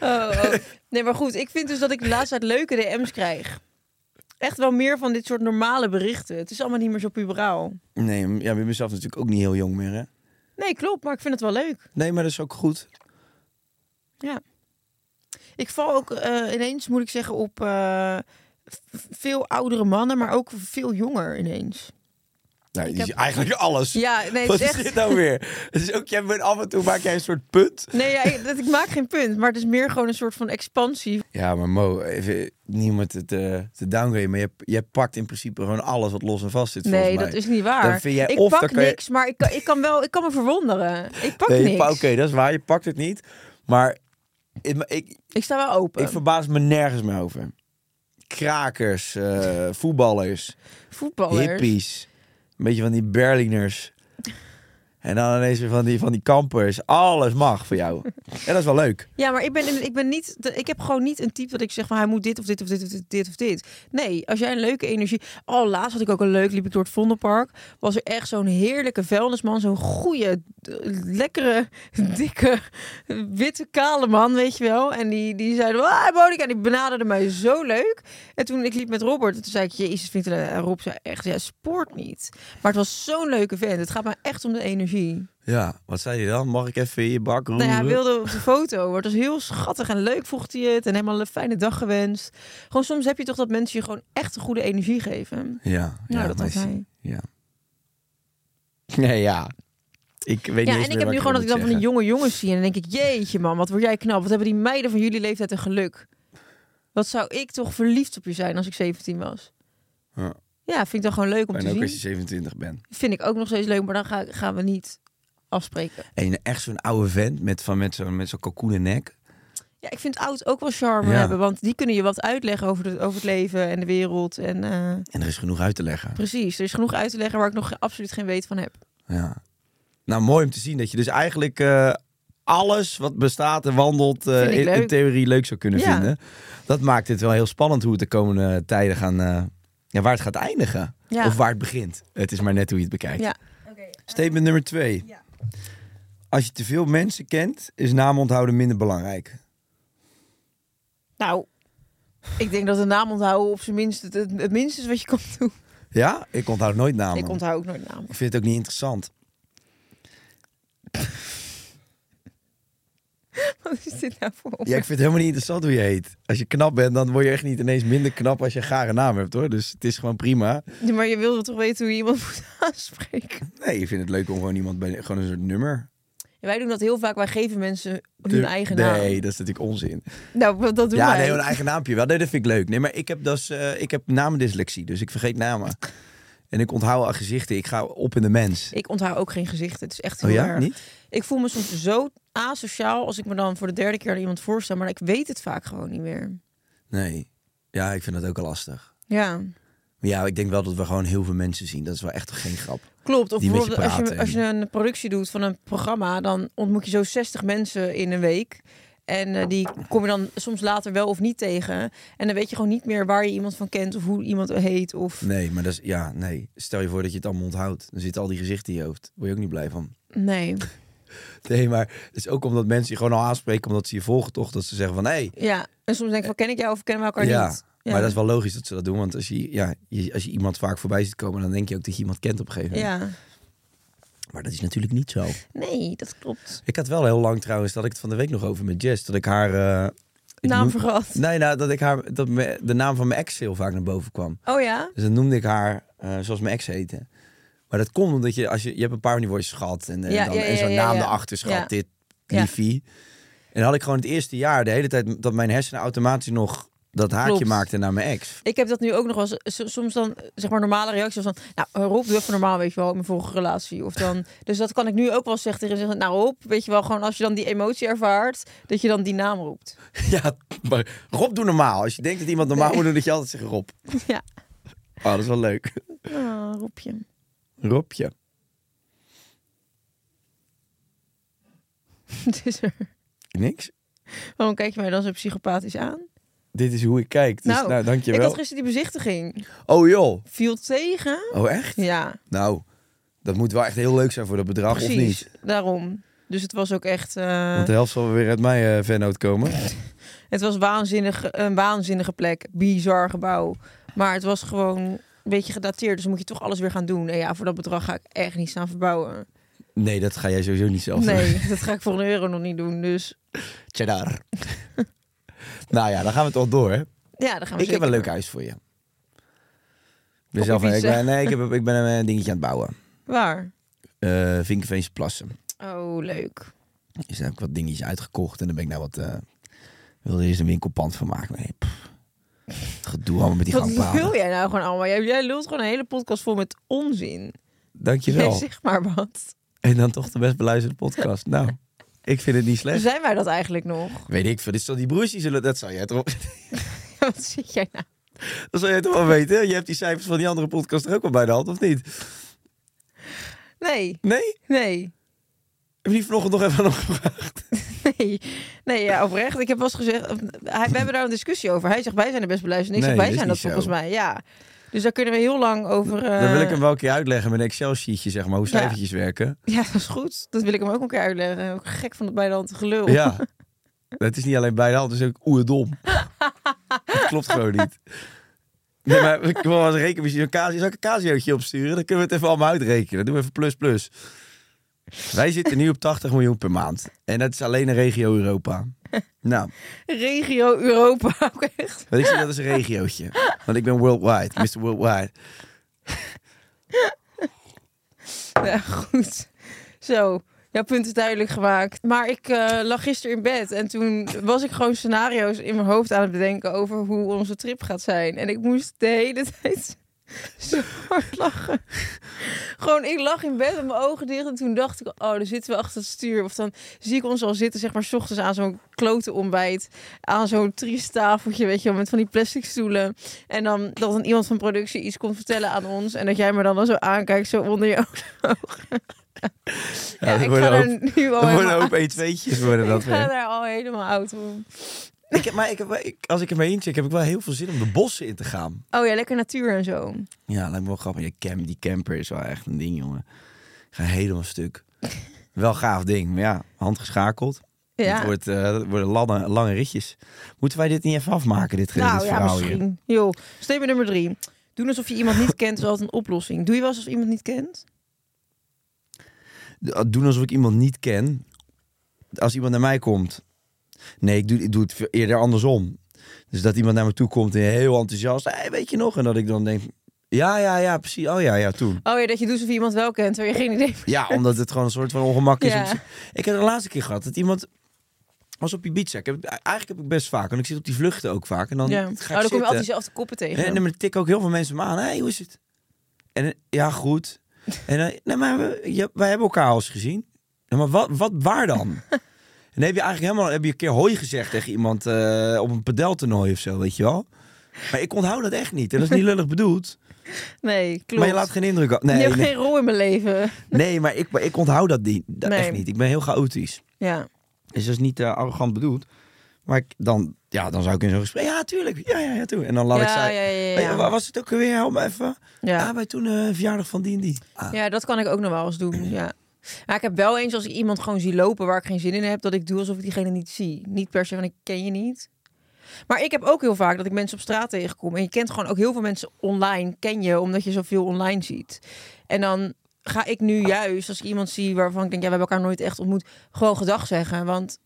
Oh, oh. Nee, maar goed. Ik vind dus dat ik de laatste tijd leuke DM's krijg. Echt wel meer van dit soort normale berichten. Het is allemaal niet meer zo puberaal.
Nee, ja, ik ben mezelf natuurlijk ook niet heel jong meer, hè?
Nee, klopt. Maar ik vind het wel leuk.
Nee, maar dat is ook goed.
Ja. Ik val ook eh, ineens, moet ik zeggen, op eh, v- veel oudere mannen, maar ook veel jonger ineens.
Nou, die
heb-
is eigenlijk alles.
Ja, nee,
Wat
het
is
is echt...
dit nou weer? (laughs) Het is ook, jij bent af en toe maak jij een soort punt.
Nee, ja, ik, dat, ik maak geen punt, maar het is meer gewoon een soort van expansie.
Ja, maar Mo, even, niemand te, te, te downgraden, maar jij, jij pakt in principe gewoon alles wat los en vast zit.
Nee,
volgens mij.
dat is niet waar.
Dan vind jij
ik
of dan
pak
kan je-
niks, maar ik kan, ik kan wel, ik kan me verwonderen. Ik pak
Nee,
niks.
pa- Oké, dat is waar, je pakt het niet. Maar ik, ik,
Ik sta wel open.
ik verbaas me nergens meer over. krakers, eh, voetballers,
Voetballers.
hippies. Een beetje van die Berliners. En dan ineens weer van die, van die kampers. Alles mag voor jou. En dat is wel leuk.
Ja, maar ik ben, ik ben niet. de- Ik heb gewoon niet een type dat ik zeg van hij moet dit of dit of dit of dit, dit of dit. Nee, als jij een leuke energie. Oh, laatst had ik ook een leuk. Liep ik door het Vondelpark. Was er echt zo'n heerlijke vuilnisman. Zo'n goede, eh, lekkere, (laughs) dikke, witte, kale man, weet je wel. En die, die zeiden, ah, Monica. En die benaderde mij zo leuk. En toen ik liep met Robert, toen zei ik, jezus, vindt eh, Rob zei echt, ja, sport niet. Maar het was zo'n leuke vent. Het gaat me echt om de energie.
Ja, wat zei je dan? Mag ik even in je bak roeren?
Nou ja, hij wilde op de foto. Het was heel schattig en leuk, vroeg hij het. En helemaal een fijne dag gewenst. Gewoon soms heb je toch dat mensen je gewoon echt een goede energie geven.
Ja,
Nou,
ja,
dat
maar
had
is-
hij.
Ja. Nee, ja. Ik weet
Ja,
niet
en ik heb nu gewoon dat ik dan van die jonge jongens zie. En dan denk ik, jeetje man, wat word jij knap. Wat hebben die meiden van jullie leeftijd een geluk. Wat zou ik toch verliefd op je zijn als ik 17 was.
Ja.
Ja, vind ik dan gewoon leuk om
En
te
ook
zien.
als je 27 bent.
Vind ik ook nog steeds leuk, maar dan ga, gaan we niet afspreken.
En echt zo'n oude vent met, van, met zo'n met zo'n kalkoenen nek.
Ja, ik vind oud ook wel charme
Ja.
hebben. Want die kunnen je wat uitleggen over, de, over het leven en de wereld. En, eh,
En er is genoeg uit te leggen.
Precies, er is genoeg uit te leggen waar ik nog absoluut geen weet van heb.
Ja. Nou, mooi om te zien dat je dus eigenlijk eh, alles wat bestaat en wandelt eh,
Vind ik
in, in
leuk.
theorie leuk zou kunnen
Ja.
vinden. Dat maakt het wel heel spannend hoe het de komende tijden gaan... eh, ja, waar het gaat eindigen.
Ja.
Of waar het begint. Het is maar net hoe je het bekijkt.
Ja.
Statement nummer twee. Als je te veel mensen kent, is naam onthouden minder belangrijk.
Nou, ik denk dat een naam onthouden op zijn minst het, het, het minste is wat je kan doen.
Ja? Ik onthoud nooit namen.
Ik onthoud ook nooit namen.
Ik vind het ook niet interessant.
Wat is dit nou voor?
Ja, ik vind het helemaal niet interessant hoe je heet. Als je knap bent, dan word je echt niet ineens minder knap als je een gare naam hebt, hoor. Dus het is gewoon prima.
Ja, Maar je wilde toch weten hoe je iemand moet (laughs) aanspreken?
Nee, ik vind het leuk om gewoon iemand bij gewoon een soort nummer.
Ja, wij doen dat heel vaak. Wij geven mensen hun
te-
eigen
nee,
naam.
dat is natuurlijk onzin.
Nou, wat- dat doen
ja,
wij.
nee, een eigen naampje wel. Nee, dat vind ik leuk. Nee, maar ik heb, dus, eh, ik heb namendyslexie, dus ik vergeet namen. En ik onthoud aan gezichten. Ik ga op in de mens.
Ik onthoud ook geen gezichten. Het is echt heel
Oh ja,
erg.
niet?
Ik voel me soms zo asociaal als ik me dan voor de derde keer aan iemand voorstel. Maar ik weet het vaak gewoon niet meer.
Nee. Ja, ik vind dat ook wel lastig.
Ja.
Maar ja, ik denk wel dat we gewoon heel veel mensen zien. Dat is wel echt geen grap.
Klopt, of
die met je
bijvoorbeeld als, je,
praten.
als je een productie doet van een programma, dan ontmoet je zo 60 mensen in een week. En eh, die kom je dan soms later wel of niet tegen. En dan weet je gewoon niet meer waar je iemand van kent of hoe iemand heet. Of...
Nee, maar dat is... Ja, nee. Stel je voor dat je het allemaal onthoudt. Dan zitten al die gezichten in je hoofd. Word je ook niet blij van.
Nee.
Nee, maar het is ook omdat mensen je gewoon al aanspreken, omdat ze je volgen toch, dat ze zeggen van, hé, hey,
Ja, en soms denk ik van ken ik jou of kennen we elkaar
Eh, ja.
niet?
Maar dat is wel logisch dat ze dat doen, want als je, ja, je- als je iemand vaak voorbij ziet komen, dan denk je ook dat je iemand kent op een gegeven moment.
Ja,
Maar dat is natuurlijk niet zo.
nee, dat klopt.
Ik had wel heel lang trouwens, dat ik het van de week nog over met Jess, dat ik haar... eh, ik
Naam
noem-
vergat.
Nee, nou, dat ik haar, dat me- de naam van mijn ex heel vaak naar boven kwam.
Oh ja?
Dus dan noemde ik haar eh, zoals mijn ex heette. Maar dat komt omdat je, als je, je hebt een paar van die woordjes gehad. En, eh,
Ja,
dan,
ja,
en
ja,
zo'n
ja,
naam
ja.
erachter schat,
Ja.
dit,
Ja.
liefie. En dan had ik gewoon het eerste jaar de hele tijd dat mijn hersenen automatisch nog dat haakje
Klopt.
maakten naar mijn
(laughs)
ex.
Ik heb dat nu ook nog wel eens. S- Soms dan, eh, zeg maar, normale reacties van... Nou, eh, Rob, doe even normaal, weet je wel, in mijn vorige relatie. Of dan, (laughs) dus dat kan ik nu ook wel zeggen tegen zeggen. Nou, Rob, weet je wel, gewoon als je dan die emotie ervaart... dat je dan die naam roept.
ja, maar Rob, doe normaal. Als je denkt dat iemand normaal moet doen, dat je altijd zegt Rob.
Ja.
Oh, dat is wel leuk.
Ah, Robje.
(laughs) Robje.
(laughs) Het is er.
Niks.
Waarom kijk je mij dan zo psychopathisch aan?
Dit is hoe ik kijk. Dus, nou,
ik
dankjewel.
had gisteren die bezichtiging.
Oh joh.
Viel tegen?
Oh echt?
Ja,
Nou, dat moet wel echt heel leuk zijn voor dat bedrag, of niet?
precies. Daarom. Dus het was ook echt... eh,
Want de helft zal weer uit mijn eh vennoot komen.
Het was waanzinnig, een waanzinnige plek. Bizar gebouw. Maar het was gewoon een beetje gedateerd. Dus dan moet je toch alles weer gaan doen. En ja, voor dat bedrag ga ik echt niet staan verbouwen.
Nee, dat ga jij sowieso niet zelf doen.
Nee, (laughs) dat ga ik voor een euro nog niet doen. Dus
Cheddar.
(laughs)
nou ja, dan gaan we toch door. Hè?
ja, dan gaan we
Ik heb
zeker
een leuk
door.
huis voor je. Ik ben
Op
zelf
je
ik
fiets,
ben, nee, ik, heb,
(laughs)
ik ben een eh, dingetje aan het bouwen.
Waar?
Eh Vinkenveense Plassen.
Oh, leuk.
Dus daar heb ik wat dingetjes uitgekocht. En dan ben ik nou wat... eh wilde eerst een winkelpand van maken. Nee, pff. Gedoe allemaal met die
Wat wil
gangpaden.
jij nou gewoon allemaal? Jij, jij lult gewoon een hele podcast vol met onzin. Nee, (laughs)
Dankjewel.
zeg maar wat.
En dan toch de best beluisterde podcast. Nou, ik vind het niet slecht.
Zijn wij dat eigenlijk nog? (laughs)
Weet ik veel. Dit zal die broertjes zullen... Dat zou jij toch...
wat zit jij nou?
(laughs) Dat zou je toch wel weten? Je hebt die cijfers van die andere podcast er ook wel bij de hand, of niet?
Nee,
Nee?
nee,
Heb je die vanochtend nog even aan hem gevraagd?
(laughs) nee. Nee, ja, oprecht. Ik heb wel eens gezegd... of, hij- we hebben daar een discussie over. Hij zegt, wij zijn de best beluisterd. En ik
Nee,
zeg, wij
is
zijn dat
niet
volgens
zo.
mij. Ja. Dus daar kunnen we heel lang over... eh,
Dan wil ik hem wel een keer uitleggen met een Excel-sheetje, zeg maar, hoe
Ja.
cijfertjes werken.
(laughs) Ja, dat is goed. Dat wil ik hem ook een keer uitleggen. Ook gek van het bij de hand gelul. (laughs)
Ja. Het is niet alleen bij de hand, het is ook oerdom. Het klopt gewoon niet. Nee, maar ik wil wel eens een rekenmachine, een casio, zal ik een casiootje opsturen? Dan kunnen we het even allemaal uitrekenen. Dan doen we even plus plus. Wij zitten nu op 80 miljoen per maand. En dat is alleen een regio
(laughs)
Europa. Nou,
Regio Europa. (laughs) Ook echt.
want ik zie dat als een regiootje. Want ik ben worldwide, Mr. Worldwide.
Ja, goed. Zo. Jouw punt is duidelijk gemaakt. Maar ik eh, lag gisteren in bed en toen was ik gewoon scenario's in mijn hoofd aan het bedenken over hoe onze trip gaat zijn. En ik moest de hele (laughs) tijd (laughs) zo hard lachen. Gewoon, ik lag in bed met mijn ogen dicht en toen dacht ik, oh, dan zitten we achter het stuur. Of dan zie ik ons al zitten, zeg maar, 's ochtends aan zo'n klote ontbijt. Aan zo'n triest tafeltje, weet je wel, met van die plastic stoelen. En dan dat dan iemand van productie iets komt vertellen aan ons. En dat jij me dan al zo aankijkt, zo onder je (laughs)
Ja,
Ja,
dat
ik
worden
ga
een
er
hoop-
nu al
dat worden
helemaal
een hoop 1-2'tjes worden dat
Ik ga
weer.
daar al helemaal oud om.
Ik heb, maar ik heb, ik- als ik ermee incheck, heb ik wel heel veel zin om de bossen in te gaan.
Oh ja, lekker natuur en zo.
Ja, lijkt me wel grappig. Die, cam, die camper is wel echt een ding, jongen. Ik ga helemaal stuk. wel gaaf ding, maar ja, handgeschakeld. Het
Ja.
wordt, eh, het worden lange, lange ritjes. Moeten wij dit niet even afmaken, dit, nou,
nou
dit
ja,
verhaal hier?
misschien. Joh, statement nummer drie. Doen alsof je iemand niet kent is altijd een oplossing. Doe je wel alsof iemand niet kent?
D- Doen alsof ik iemand niet ken. Als iemand naar mij komt. Nee, ik doe, ik doe het veel eerder andersom. Dus dat iemand naar me toe komt en heel enthousiast. Hey, weet je nog? En dat ik dan denk, ja, ja, ja, precies. Oh ja, ja, toen.
Oh ja, dat je doet alsof je iemand wel kent, terwijl je geen idee hebt.
(laughs) Ja, omdat het gewoon een soort van ongemak is. om
Ja.
te- Ik heb de laatste keer gehad dat iemand was op Ibiza. Ik heb, eigenlijk heb ik best vaak, want ik zit op die vluchten ook vaak. En dan
Ja.
ga
Oh,
ik
dan kom je
zitten.
altijd diezelfde koppen tegen.
En dan tikken ook heel veel mensen me aan. Hé, hey, hoe is het? En eh, ja,
(laughs)
goed. En dan, nee, maar we, ja, wij hebben elkaar al eens gezien. Ja, maar wat, wat, waar
(laughs)
dan? en dan heb je eigenlijk helemaal heb je een keer hoi gezegd tegen iemand eh, op een padeltoernooi of zo, weet je wel? Maar ik onthoud dat echt niet. En dat
(laughs)
is niet lullig bedoeld.
Nee, klopt.
Maar je laat geen indruk... af- Nee,
Je (laughs) hebt
nee.
geen rol in mijn leven.
Nee, maar ik, ik onthoud dat niet, dat
Nee.
echt niet. Ik ben heel chaotisch.
Ja.
Dus dat is niet eh, arrogant bedoeld. Maar ik, dan, ja, dan zou ik in zo'n gesprek... Ja, tuurlijk. Ja, ja, ja, toen. En dan laat
Ja,
ik zij...
ja, ja, ja,
Hey,
ja.
wa- was het ook weer? Help me even. Ja,
Ja.
bij toen eh, verjaardag van die en die. Ah.
ja, dat kan ik ook nog wel eens doen. Ja. Maar ik heb wel eens als ik iemand gewoon zie lopen waar ik geen zin in heb, dat ik doe alsof ik diegene niet zie. Niet per se van ik ken je niet. Maar ik heb ook heel vaak dat ik mensen op straat tegenkom. En je kent gewoon ook heel veel mensen online, ken je, omdat je zoveel online ziet. En dan ga ik nu juist, als ik iemand zie waarvan ik denk, ja, we hebben elkaar nooit echt ontmoet, gewoon gedag zeggen. Want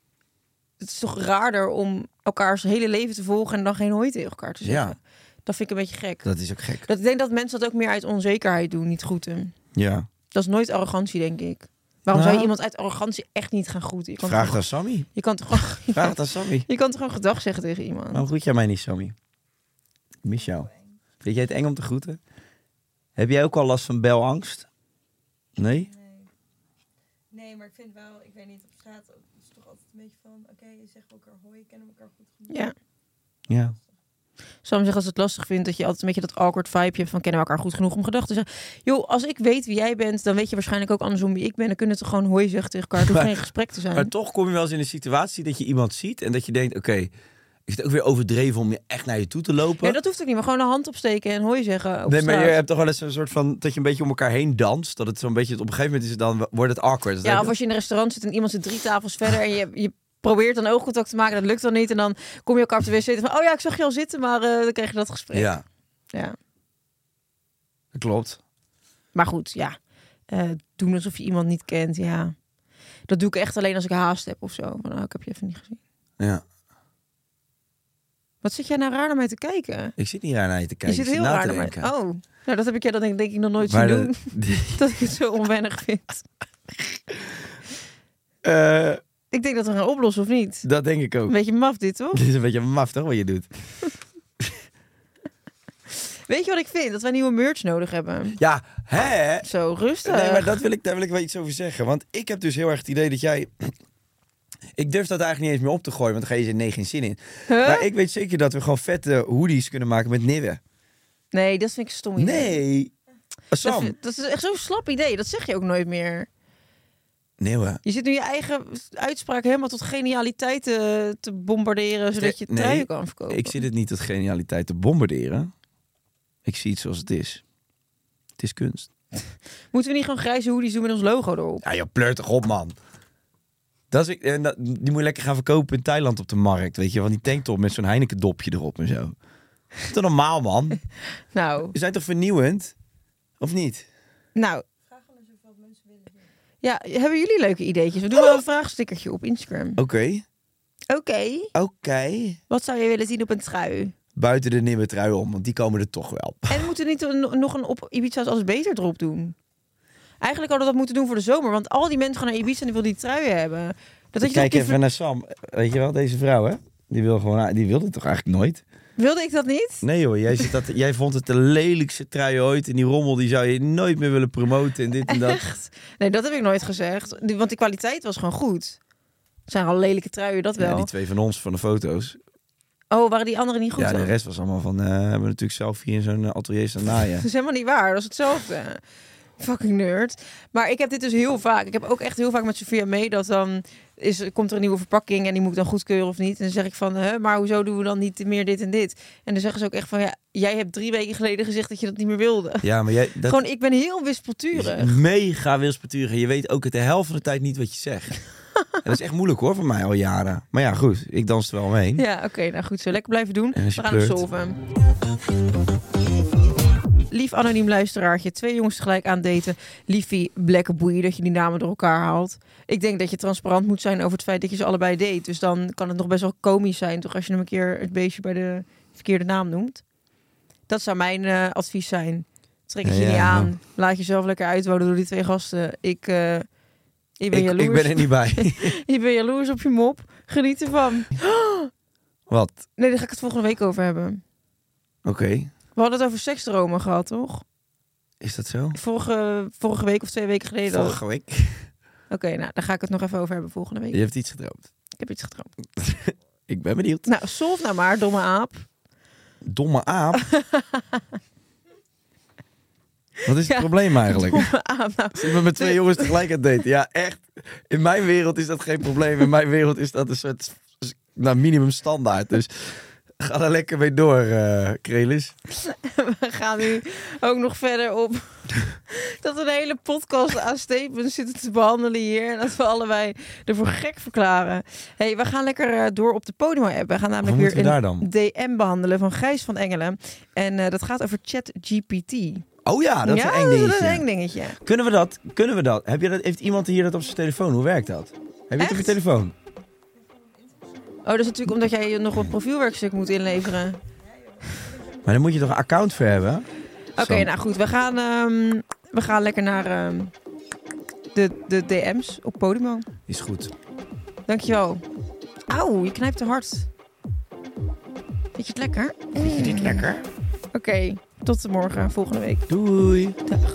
het is toch raarder om elkaars hele leven te volgen en dan geen hoi tegen elkaar te zeggen.
Dus Ja.
Dat vind ik een beetje gek.
Dat is ook gek.
Dat ik denk dat mensen dat ook meer uit onzekerheid doen, niet groeten.
Ja.
Dat is nooit arrogantie, denk ik. Waarom zou je
Nou.
iemand uit arrogantie echt niet gaan groeten? Je kan
Vraag
toch,
het aan Sammy.
Je kan toch gewoon, (laughs)
Vraag Oh. het aan Sammy.
je kan toch gewoon gedag zeggen tegen iemand?
Waarom groet jij mij niet, Sammy? Ik mis jou. Weet jij het eng om te groeten? Heb jij ook al last van belangst? Nee?
Nee, maar ik vind wel, ik weet niet, op straat ook- is het toch altijd een beetje van, oké, je zegt elkaar hoi, kennen elkaar goed genoeg.
Ja.
Ja.
Sam zegt als het lastig vindt dat je altijd een beetje dat awkward vibe hebt van kennen we elkaar goed genoeg om gedachten te zeggen. Joh, als ik weet wie jij bent, dan weet je waarschijnlijk ook andersom wie ik ben. Dan kunnen we toch gewoon hoi zeggen tegen elkaar. Het hoeft
Maar-
geen gesprek te
Maar
zijn.
toch kom je wel eens in een situatie dat je iemand ziet en dat je denkt: oké, is het ook weer overdreven om je echt naar je toe te lopen?
Ja, dat hoeft ook niet. Maar gewoon een hand opsteken en hoi zeggen. Op
nee, maar je
straat.
hebt toch wel eens een soort van dat je een beetje om elkaar heen danst. Dat het zo'n beetje op een gegeven moment is, het dan wordt het awkward. Dat
Ja,
denk
of
ik-
als je in een restaurant zit en iemand zit drie tafels verder en je, je probeert dan oogcontact te maken, dat lukt dan niet. En dan kom je elkaar op de wc en van, oh ja, ik zag je al zitten, maar eh, dan krijg je dat gesprek.
ja,
Ja.
dat klopt.
Maar goed, ja. Eh, doen alsof je iemand niet kent, ja. Dat doe ik echt alleen als ik haast heb of zo. Van, oh, ik heb je even niet gezien.
Ja.
Wat zit jij nou raar naar mij te kijken?
Ik zit niet raar naar je te
Je
kijken.
zit
ik zit
heel
na
raar
te
naar mij.
denken.
Oh, nou dat heb ik jij dan denk, denk ik nog nooit
Maar
zien
de-
doen. (laughs) dat ik het zo onwennig vind.
(laughs) Eh,
Ik denk dat we gaan oplossen of niet.
dat denk ik ook.
Een beetje maf dit, toch?
(laughs) Dit is een beetje maf, toch, wat je doet?
Weet je wat ik vind? Dat wij nieuwe merch nodig hebben.
Ja, hè?
Zo, rustig.
Nee, maar dat wil ik, daar wil ik wel iets over zeggen. Want ik heb dus heel erg het idee dat jij (clears throat) Ik durf dat eigenlijk niet eens meer op te gooien, want daar ga je er nee, geen zin in.
(laughs)
Maar ik weet zeker dat we gewoon vette hoodies kunnen maken met nibben.
Nee, dat vind ik een stom idee.
Nee.
Dat,
Sam,
vind- dat is echt zo'n slap idee. Dat zeg je ook nooit meer.
nieuwe.
Je zit nu je eigen uitspraak helemaal tot genialiteit eh, te bombarderen, zodat je
Nee,
truien kan verkopen.
Ik zit het niet tot genialiteit te bombarderen. Ik zie het zoals het is. Het is kunst.
Moeten we niet gewoon grijze hoodies doen met ons logo erop?
Ja, je pleurt toch op, man. Dat is, en dat- die moet je lekker gaan verkopen in Thailand op de markt. Weet je, van die tanktop met zo'n Heineken dopje erop en zo. Dat is toch normaal, man?
Nou,
We zijn toch vernieuwend? Of niet?
nou. Ja, hebben jullie leuke ideetjes? We doen wel een vraagstickertje op Instagram.
Oké.
Oké,
Oké.
wat zou je willen zien op een trui?
Buiten de nieuwe trui om, want die komen er toch wel.
En moeten we niet een- nog een op Ibiza's als beter drop doen? Eigenlijk hadden we dat moeten doen voor de zomer, want al die mensen gaan naar Ibiza en die willen die truien hebben. Dat had je
Kijk
toch-
even naar Sam. Weet je wel, deze vrouw, hè? Die, wil gewoon, ah, die wilde toch eigenlijk nooit?
Wilde ik dat niet?
Nee joh, jij, zit dat, jij vond het de lelijkste trui ooit. En die rommel die zou je nooit meer willen promoten en dit en dat.
Echt? Nee, dat heb ik nooit gezegd. Die- Want die kwaliteit was gewoon goed. Het zijn al lelijke truien, dat
Ja,
wel.
die twee van ons, van de foto's.
Oh, waren die anderen niet goed
ja, de
dan?
rest was allemaal van... eh, hebben we natuurlijk zelf hier in zo'n eh, atelier staan naaien.
Dat is helemaal niet waar. Dat is hetzelfde. Fucking nerd. Maar ik heb dit dus heel vaak. Ik heb ook echt heel vaak met Sofia mee dat dan is, komt er een nieuwe verpakking en die moet ik dan goedkeuren of niet. En dan zeg ik van, hè, maar hoezo doen we dan niet meer dit en dit? En dan zeggen ze ook echt van, ja, jij hebt drie weken geleden gezegd dat je dat niet meer wilde.
Ja, maar jij... Dat
Gewoon, ik ben heel wispelturig.
is mega wispelturig. Je weet ook het de helft van de tijd niet wat je zegt. (laughs) en dat is echt moeilijk hoor, voor mij al jaren. Maar ja, goed. Ik dans er wel omheen.
Ja, oké, nou goed zo. Lekker blijven doen.
En
We
als je
gaan het
pleurt?
solven. Lief anoniem luisteraartje, twee jongens tegelijk aan daten. Liefie, blekke boeien dat je die namen door elkaar haalt. Ik denk dat je transparant moet zijn over het feit dat je ze allebei date. Dus dan kan het nog best wel komisch zijn, toch? Als je hem een keer het beestje bij de verkeerde naam noemt. Dat zou mijn eh, advies zijn. Trek het je
Ja,
niet
ja. nou.
aan. Laat jezelf lekker uitwonen door die twee gasten. Ik, eh, ik ben
ik,
jaloers.
ik ben er niet bij.
(laughs)
(laughs)
Ik ben jaloers op je mop. Geniet ervan.
wat?
Nee, daar ga ik het volgende week over hebben.
Oké.
We hadden het over seksdromen gehad, toch?
Is dat zo?
Vorige, vorige week of twee weken geleden. al. Oké,
Vorige week.
nou, daar ga ik het nog even over hebben volgende week.
Je hebt iets gedroomd.
Ik heb iets gedroomd.
Ik ben benieuwd.
Nou, solve nou maar, domme aap. (laughs)
Domme aap. Wat is het
Ja,
probleem eigenlijk?
Domme aap. Nou,
Als iemand met twee jongens tegelijk aan het daten. Ja, echt. In mijn wereld is dat geen probleem. In mijn wereld is dat een soort nou, minimum standaard. Dus ga daar lekker mee door, eh Krelis.
we gaan nu ook nog verder op (laughs) dat we een hele podcast aan statements zitten te behandelen hier. En dat we allebei ervoor gek verklaren. hey, we gaan lekker eh, door op de Podimo-app. We gaan
Hoe
namelijk
moeten we
weer
daar
een
dan?
DM behandelen van Gijs van Engelen. En eh, dat gaat over ChatGPT.
Oh ja, dat is
ja,
een eng
dat is
dingetje.
een eng dingetje.
Kunnen we dat? Kunnen we dat? Heb je dat? Heeft iemand hier dat op zijn telefoon? Hoe werkt dat? Heb je het op je
Echt?
telefoon?
Oh, dat is natuurlijk omdat jij nog wat profielwerkstuk moet inleveren.
Maar dan moet je toch een account voor hebben?
Oké, nou goed. We gaan, ehm, we gaan lekker naar ehm, de, de DM's op Podimo.
Is goed.
Dankjewel. Auw, je knijpt te hard. Vind je het lekker?
Vind je dit lekker?
Oké, tot morgen, volgende week.
Doei.
Dag.